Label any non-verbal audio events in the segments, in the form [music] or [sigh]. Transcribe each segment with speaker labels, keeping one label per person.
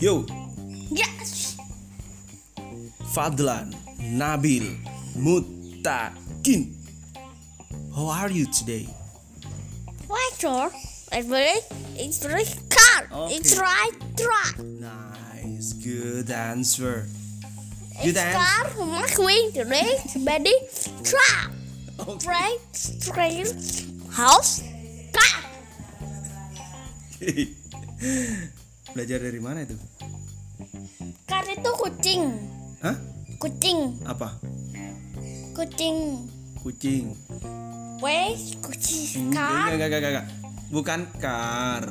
Speaker 1: Yo,
Speaker 2: Yes.
Speaker 1: Fadlan, Nabil, Mutakin. How are you today?
Speaker 2: Waiter. It's very, it's very car.
Speaker 1: Okay.
Speaker 2: It's right truck.
Speaker 1: Nice, good answer. [laughs] Good
Speaker 2: It's car. Mark wing the right body truck.
Speaker 1: Okay.
Speaker 2: Right train house car.
Speaker 1: Belajar dari mana itu?
Speaker 2: Car itu kucing.
Speaker 1: Hah?
Speaker 2: Kucing.
Speaker 1: Apa?
Speaker 2: Kucing.
Speaker 1: Kucing.
Speaker 2: Wait, kucing.
Speaker 1: Enggak,
Speaker 2: Car.
Speaker 1: enggak, enggak, enggak. Bukan kar.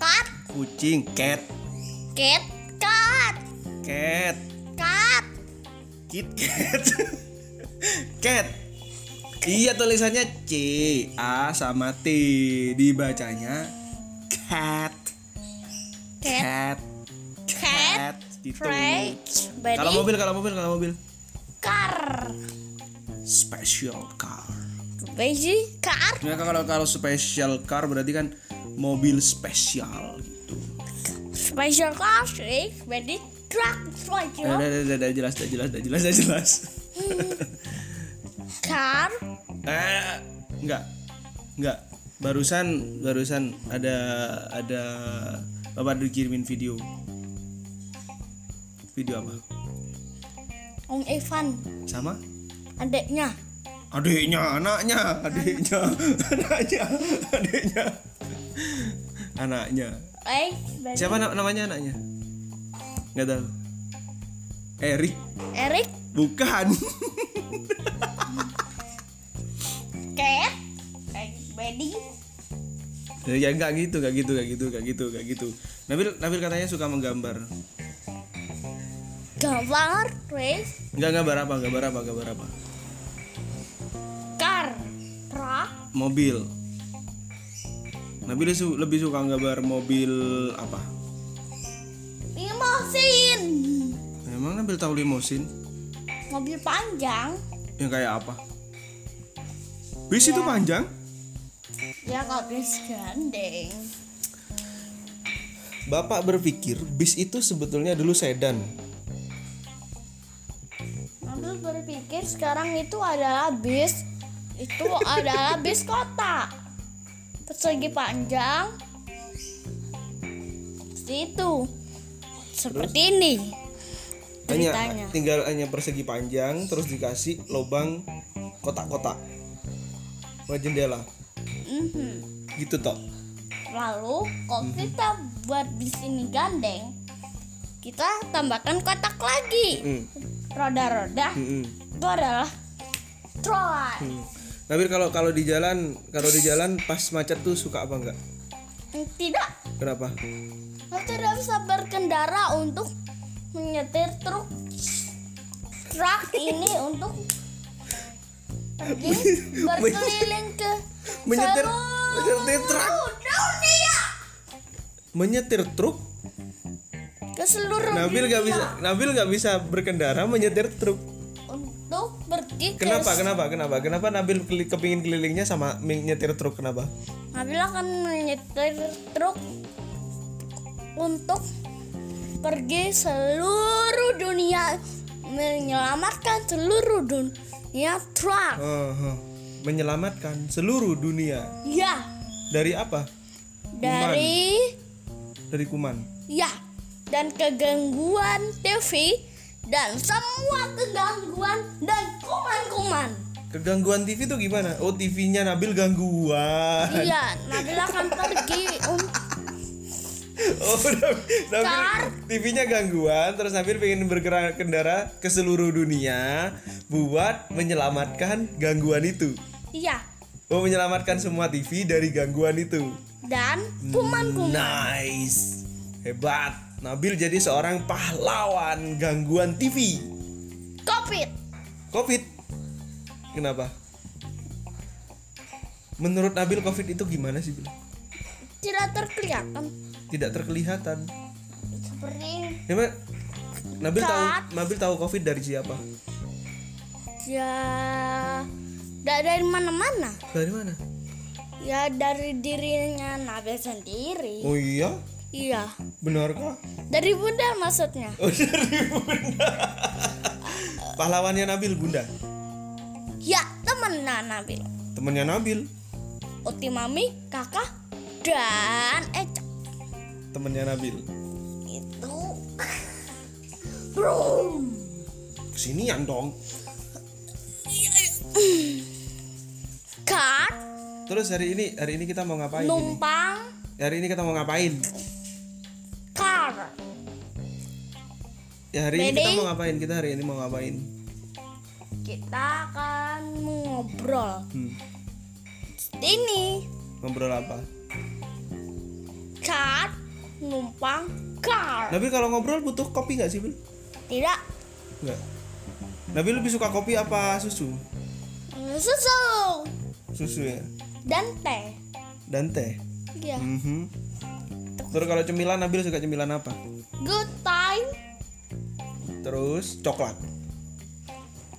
Speaker 2: Car.
Speaker 1: Kucing, cat,
Speaker 2: Cat. Cat.
Speaker 1: cat,
Speaker 2: Cat.
Speaker 1: kit cat. [laughs] cat. Iya tulisannya C A sama T dibacanya cat
Speaker 2: Cat.
Speaker 1: cat
Speaker 2: Cat.
Speaker 1: gitu.
Speaker 2: Right body
Speaker 1: Kalau mobil kalau mobil kalau mobil
Speaker 2: car.
Speaker 1: special car.
Speaker 2: Basic car.
Speaker 1: Ya kalau kalau special car berarti kan mobil spesial gitu.
Speaker 2: Special class is very truck
Speaker 1: Eh, Udah,
Speaker 2: special
Speaker 1: udah, udah, udah, jelas, udah, jelas, udah, jelas, udah, jelas. [laughs]
Speaker 2: car
Speaker 1: Eh, enggak. Enggak. Barusan barusan ada ada Bapak dikirimin video. Video apa?
Speaker 2: Om Evan
Speaker 1: Sama?
Speaker 2: adiknya
Speaker 1: Adiknya, anaknya, adiknya, anaknya, adiknya. Anaknya.
Speaker 2: eh very-
Speaker 1: Siapa na- namanya anaknya? Enggak tahu. Erik,
Speaker 2: Eric
Speaker 1: bukan. [laughs]
Speaker 2: Cat eh, Betty
Speaker 1: ya enggak gitu, enggak gitu, enggak gitu, enggak gitu, enggak gitu. Nabil Nabil katanya suka menggambar.
Speaker 2: gambar race
Speaker 1: Enggak gambar apa? Gambar apa? Gambar apa?
Speaker 2: car truck
Speaker 1: Mobil. Nabil su- lebih suka gambar mobil apa?
Speaker 2: limosin
Speaker 1: Emang Nabil tahu limosin?
Speaker 2: mobil panjang
Speaker 1: Yang kayak apa? Bis itu panjang?
Speaker 2: ya kalau bis gandeng
Speaker 1: Bapak berpikir bis itu sebetulnya dulu sedan.
Speaker 2: Nabil berpikir sekarang itu adalah bis itu adalah bis kota persegi panjang seperti itu seperti ini
Speaker 1: Hanya
Speaker 2: ceritanya
Speaker 1: tinggal hanya persegi panjang terus dikasih lubang kotak-kotak. Buat jendela.
Speaker 2: Mhm.
Speaker 1: Gitu toh.
Speaker 2: lalu kalau kita buat bis ini gandeng kita tambahkan kotak lagi
Speaker 1: Hmm.
Speaker 2: roda-roda
Speaker 1: hmm, hmm.
Speaker 2: itu adalah troy
Speaker 1: Nabil Nah, kalau kalau di jalan kalau di jalan pas macet tuh suka apa enggak?
Speaker 2: tidak
Speaker 1: Kenapa?
Speaker 2: Aku tidak bisa berkendara untuk menyetir truk truk ini untuk
Speaker 1: [laughs]
Speaker 2: pergi berkeliling ke
Speaker 1: Menyetir
Speaker 2: seluruh
Speaker 1: menyetir truk,
Speaker 2: dunia
Speaker 1: menyetir truk.
Speaker 2: ke seluruh
Speaker 1: Nabil
Speaker 2: dunia
Speaker 1: nggak bisa Nabil nggak bisa berkendara menyetir truk.
Speaker 2: untuk pergi ke
Speaker 1: Kenapa? Kenapa? Kenapa? Kenapa Nabil keli- kepingin kelilingnya sama menyetir truk kenapa?
Speaker 2: Nabil akan menyetir truk untuk pergi seluruh dunia menyelamatkan seluruh dunia truk
Speaker 1: Eh, eh. Menyelamatkan seluruh dunia
Speaker 2: ya
Speaker 1: dari apa?
Speaker 2: dari
Speaker 1: Dari kuman.
Speaker 2: ya dan kegangguan TV dan semua kegangguan dan kuman-kuman.
Speaker 1: Kegangguan TV tuh gimana? Oh TV-nya Nabil
Speaker 2: [laughs]
Speaker 1: gangguan.
Speaker 2: Iya, Nabil akan pergi um, un-
Speaker 1: Oh Nabil, Nabil
Speaker 2: Car.
Speaker 1: TV-nya gangguan. Terus Nabil pengen bergerak kendara ke seluruh dunia buat menyelamatkan gangguan itu.
Speaker 2: iya
Speaker 1: Oh menyelamatkan semua TV dari gangguan itu.
Speaker 2: dan
Speaker 1: Nah.
Speaker 2: kuman-kuman.
Speaker 1: Nice. Hebat. Nabil jadi seorang pahlawan gangguan TV.
Speaker 2: Covid.
Speaker 1: Covid. Kenapa? Menurut Nabil Covid itu gimana sih? Bil?
Speaker 2: Tidak terkelihatan
Speaker 1: Tidak terkelihatan.
Speaker 2: seperti
Speaker 1: Emang Nabil tahu
Speaker 2: Cut.
Speaker 1: Nabil tahu Covid dari siapa?
Speaker 2: ya da- dari mana-mana.
Speaker 1: Dari mana?
Speaker 2: Ya dari dirinya Nabil sendiri.
Speaker 1: Oh iya.
Speaker 2: Iya.
Speaker 1: Benarkah?
Speaker 2: Dari bunda maksudnya.
Speaker 1: Oh, [laughs] dari Bunda. Pahlawannya Nabil Bunda.
Speaker 2: Ya, temen Nabil.
Speaker 1: Temennya Nabil.
Speaker 2: Oti mami, kakak, dan Eca.
Speaker 1: Temennya Nabil.
Speaker 2: Itu. Brum.
Speaker 1: Kesinian dong.
Speaker 2: Kan
Speaker 1: Terus hari ini hari ini kita mau ngapain? ini?
Speaker 2: numpang
Speaker 1: Hari ini kita mau ngapain?
Speaker 2: car.
Speaker 1: Ya hari ini
Speaker 2: Ready?
Speaker 1: kita mau ngapain? Kita hari ini mau ngapain?
Speaker 2: Kita akan ngobrol.
Speaker 1: Hmm,
Speaker 2: Ini
Speaker 1: Ngobrol apa?
Speaker 2: car Kan numpang car.
Speaker 1: Nabil kalau ngobrol butuh kopi nggak sih, Bil?
Speaker 2: Tidak
Speaker 1: Nggak. Nabil lebih suka kopi apa susu?
Speaker 2: susu
Speaker 1: Susu ya.
Speaker 2: dan teh.
Speaker 1: Dan teh.
Speaker 2: Ya.
Speaker 1: Mhm. Terus kalau cemilan Nabil suka cemilan apa?
Speaker 2: Good time.
Speaker 1: Terus coklat.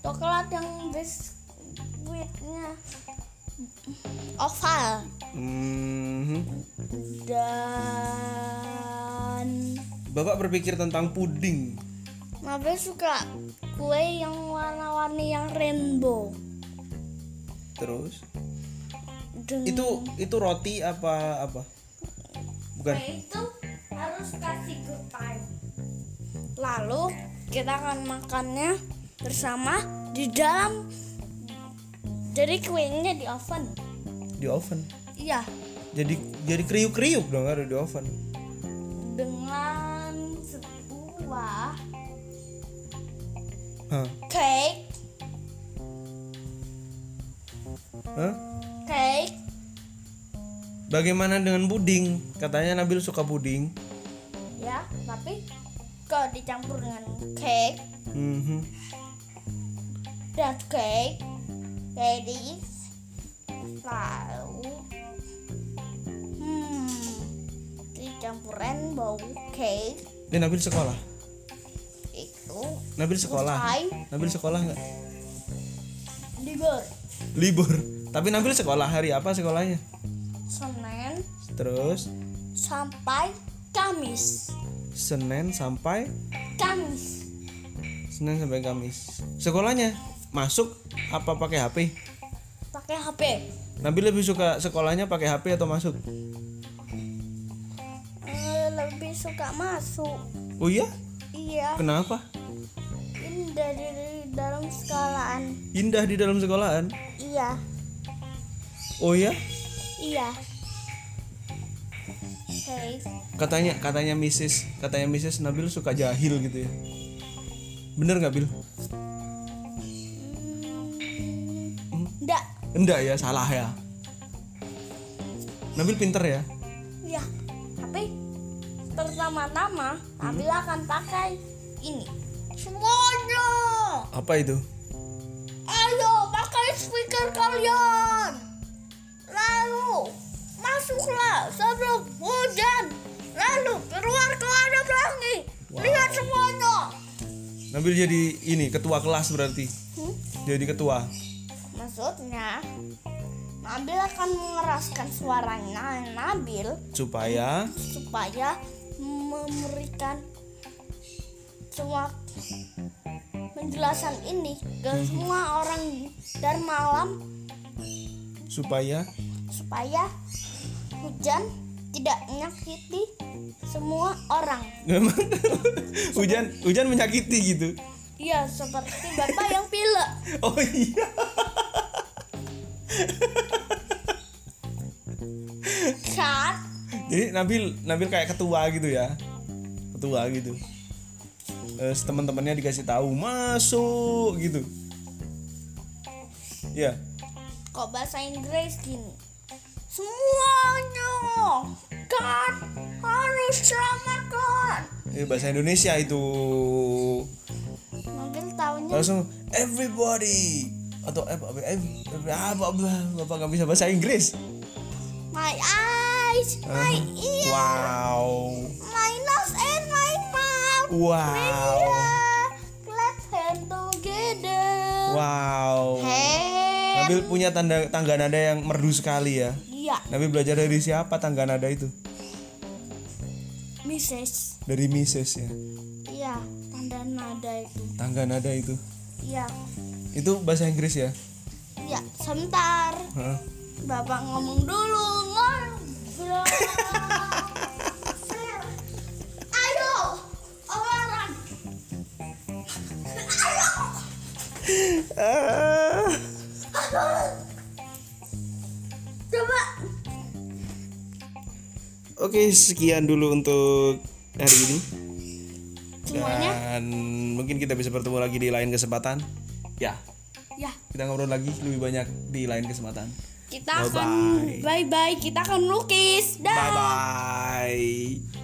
Speaker 2: Coklat yang biskuitnya oval
Speaker 1: Mhm.
Speaker 2: dan
Speaker 1: Bapak berpikir tentang puding.
Speaker 2: Mabel suka kue yang warna-warni yang rainbow.
Speaker 1: Terus
Speaker 2: Dan
Speaker 1: itu itu roti apa apa? Bukan.
Speaker 2: itu harus kasih good time. Lalu kita akan makannya bersama di dalam jadi kuenya di oven.
Speaker 1: Di oven.
Speaker 2: Iya,
Speaker 1: Jadi jadi kriuk-kriuk dong harus di oven.
Speaker 2: dengan sebuah
Speaker 1: Hah?
Speaker 2: cake,
Speaker 1: Hah?
Speaker 2: cake
Speaker 1: Bagaimana dengan puding? Katanya Nabil suka puding.
Speaker 2: ya, tapi kalau dicampur dengan cake
Speaker 1: Mhm.
Speaker 2: dan cake jadi lalu hmm dicampur rainbow cake
Speaker 1: Eh, Nabil sekolah.
Speaker 2: itu
Speaker 1: Nabil sekolah.
Speaker 2: Usai.
Speaker 1: Nabil sekolah nggak?
Speaker 2: libur
Speaker 1: Libur. Tapi Nabil sekolah hari apa sekolahnya?
Speaker 2: Senin
Speaker 1: Terus
Speaker 2: sampai Kamis
Speaker 1: Senin sampai
Speaker 2: Kamis
Speaker 1: Senin sampai Kamis. Sekolahnya masuk apa pakai HP?
Speaker 2: pakai HP
Speaker 1: Nabil lebih suka sekolahnya pakai HP atau masuk?
Speaker 2: Eh, lebih suka masuk
Speaker 1: Oh iya?
Speaker 2: iya
Speaker 1: Kenapa?
Speaker 2: indah dari dalam sekolahan
Speaker 1: Indah di dalam sekolahan.
Speaker 2: iya
Speaker 1: Oh iya?
Speaker 2: iya Hey,
Speaker 1: Katanya katanya Mrs. katanya Mrs. Nabil suka jahil gitu ya. Bener nggak Bil?
Speaker 2: enggak,
Speaker 1: Enggak ya, salah ya. Nabil pinter ya.
Speaker 2: ya tapi pertama-tama Nabil akan pakai ini semuanya
Speaker 1: Apa itu?
Speaker 2: ayo pakai speaker kalian lalu masuklah sebelum hujan lalu keluar ke ada lagi lihat semuanya
Speaker 1: Nabil jadi ini ketua kelas berarti.
Speaker 2: Hmm?
Speaker 1: Jadi ketua.
Speaker 2: maksudnya Nabil akan mengeraskan suaranya Nabil
Speaker 1: Supaya
Speaker 2: supaya memberikan semua penjelasan ini ke semua orang dan malam
Speaker 1: supaya
Speaker 2: supaya hujan tidak menyakiti semua orang.
Speaker 1: Memang hujan hujan menyakiti gitu.
Speaker 2: Iya, seperti bapak yang pilek.
Speaker 1: Oh iya.
Speaker 2: Saat
Speaker 1: Jadi Nabil Nabil kayak ketua gitu ya. Ketua gitu. Terus teman-temannya dikasih tahu masuk gitu. Ya,
Speaker 2: kok bahasa Inggris gini. Semuanya kan harus selamatkan.
Speaker 1: ini bahasa Indonesia itu.
Speaker 2: Mobil tahunya
Speaker 1: Langsung everybody atau eh, apa eh, apa apa bapak nggak bisa bahasa Inggris.
Speaker 2: my eyes, my ears.
Speaker 1: Wow.
Speaker 2: my nose and my mouth.
Speaker 1: Wow.
Speaker 2: Clap hand together.
Speaker 1: Wow.
Speaker 2: Hand.
Speaker 1: Nabil punya tanda tangga nada yang merdu sekali ya.
Speaker 2: Iya.
Speaker 1: Nabi belajar dari siapa tangga nada itu?
Speaker 2: Mises.
Speaker 1: dari Mises ya
Speaker 2: Iya, tanda nada itu.
Speaker 1: tangga nada itu
Speaker 2: Iya.
Speaker 1: itu bahasa Inggris ya
Speaker 2: Iya, sebentar.
Speaker 1: Hah?
Speaker 2: Bapak ngomong dulu,
Speaker 1: [laughs]
Speaker 2: ngobrol. Ayo, orang.
Speaker 1: Ah.
Speaker 2: Coba.
Speaker 1: Oke sekian dulu untuk hari ini
Speaker 2: Semuanya?
Speaker 1: dan mungkin kita bisa bertemu lagi di lain kesempatan ya
Speaker 2: Ya,
Speaker 1: kita ngobrol lagi lebih banyak di lain kesempatan
Speaker 2: kita akan bye-bye. Kita akan lukis. Dah.
Speaker 1: bye bye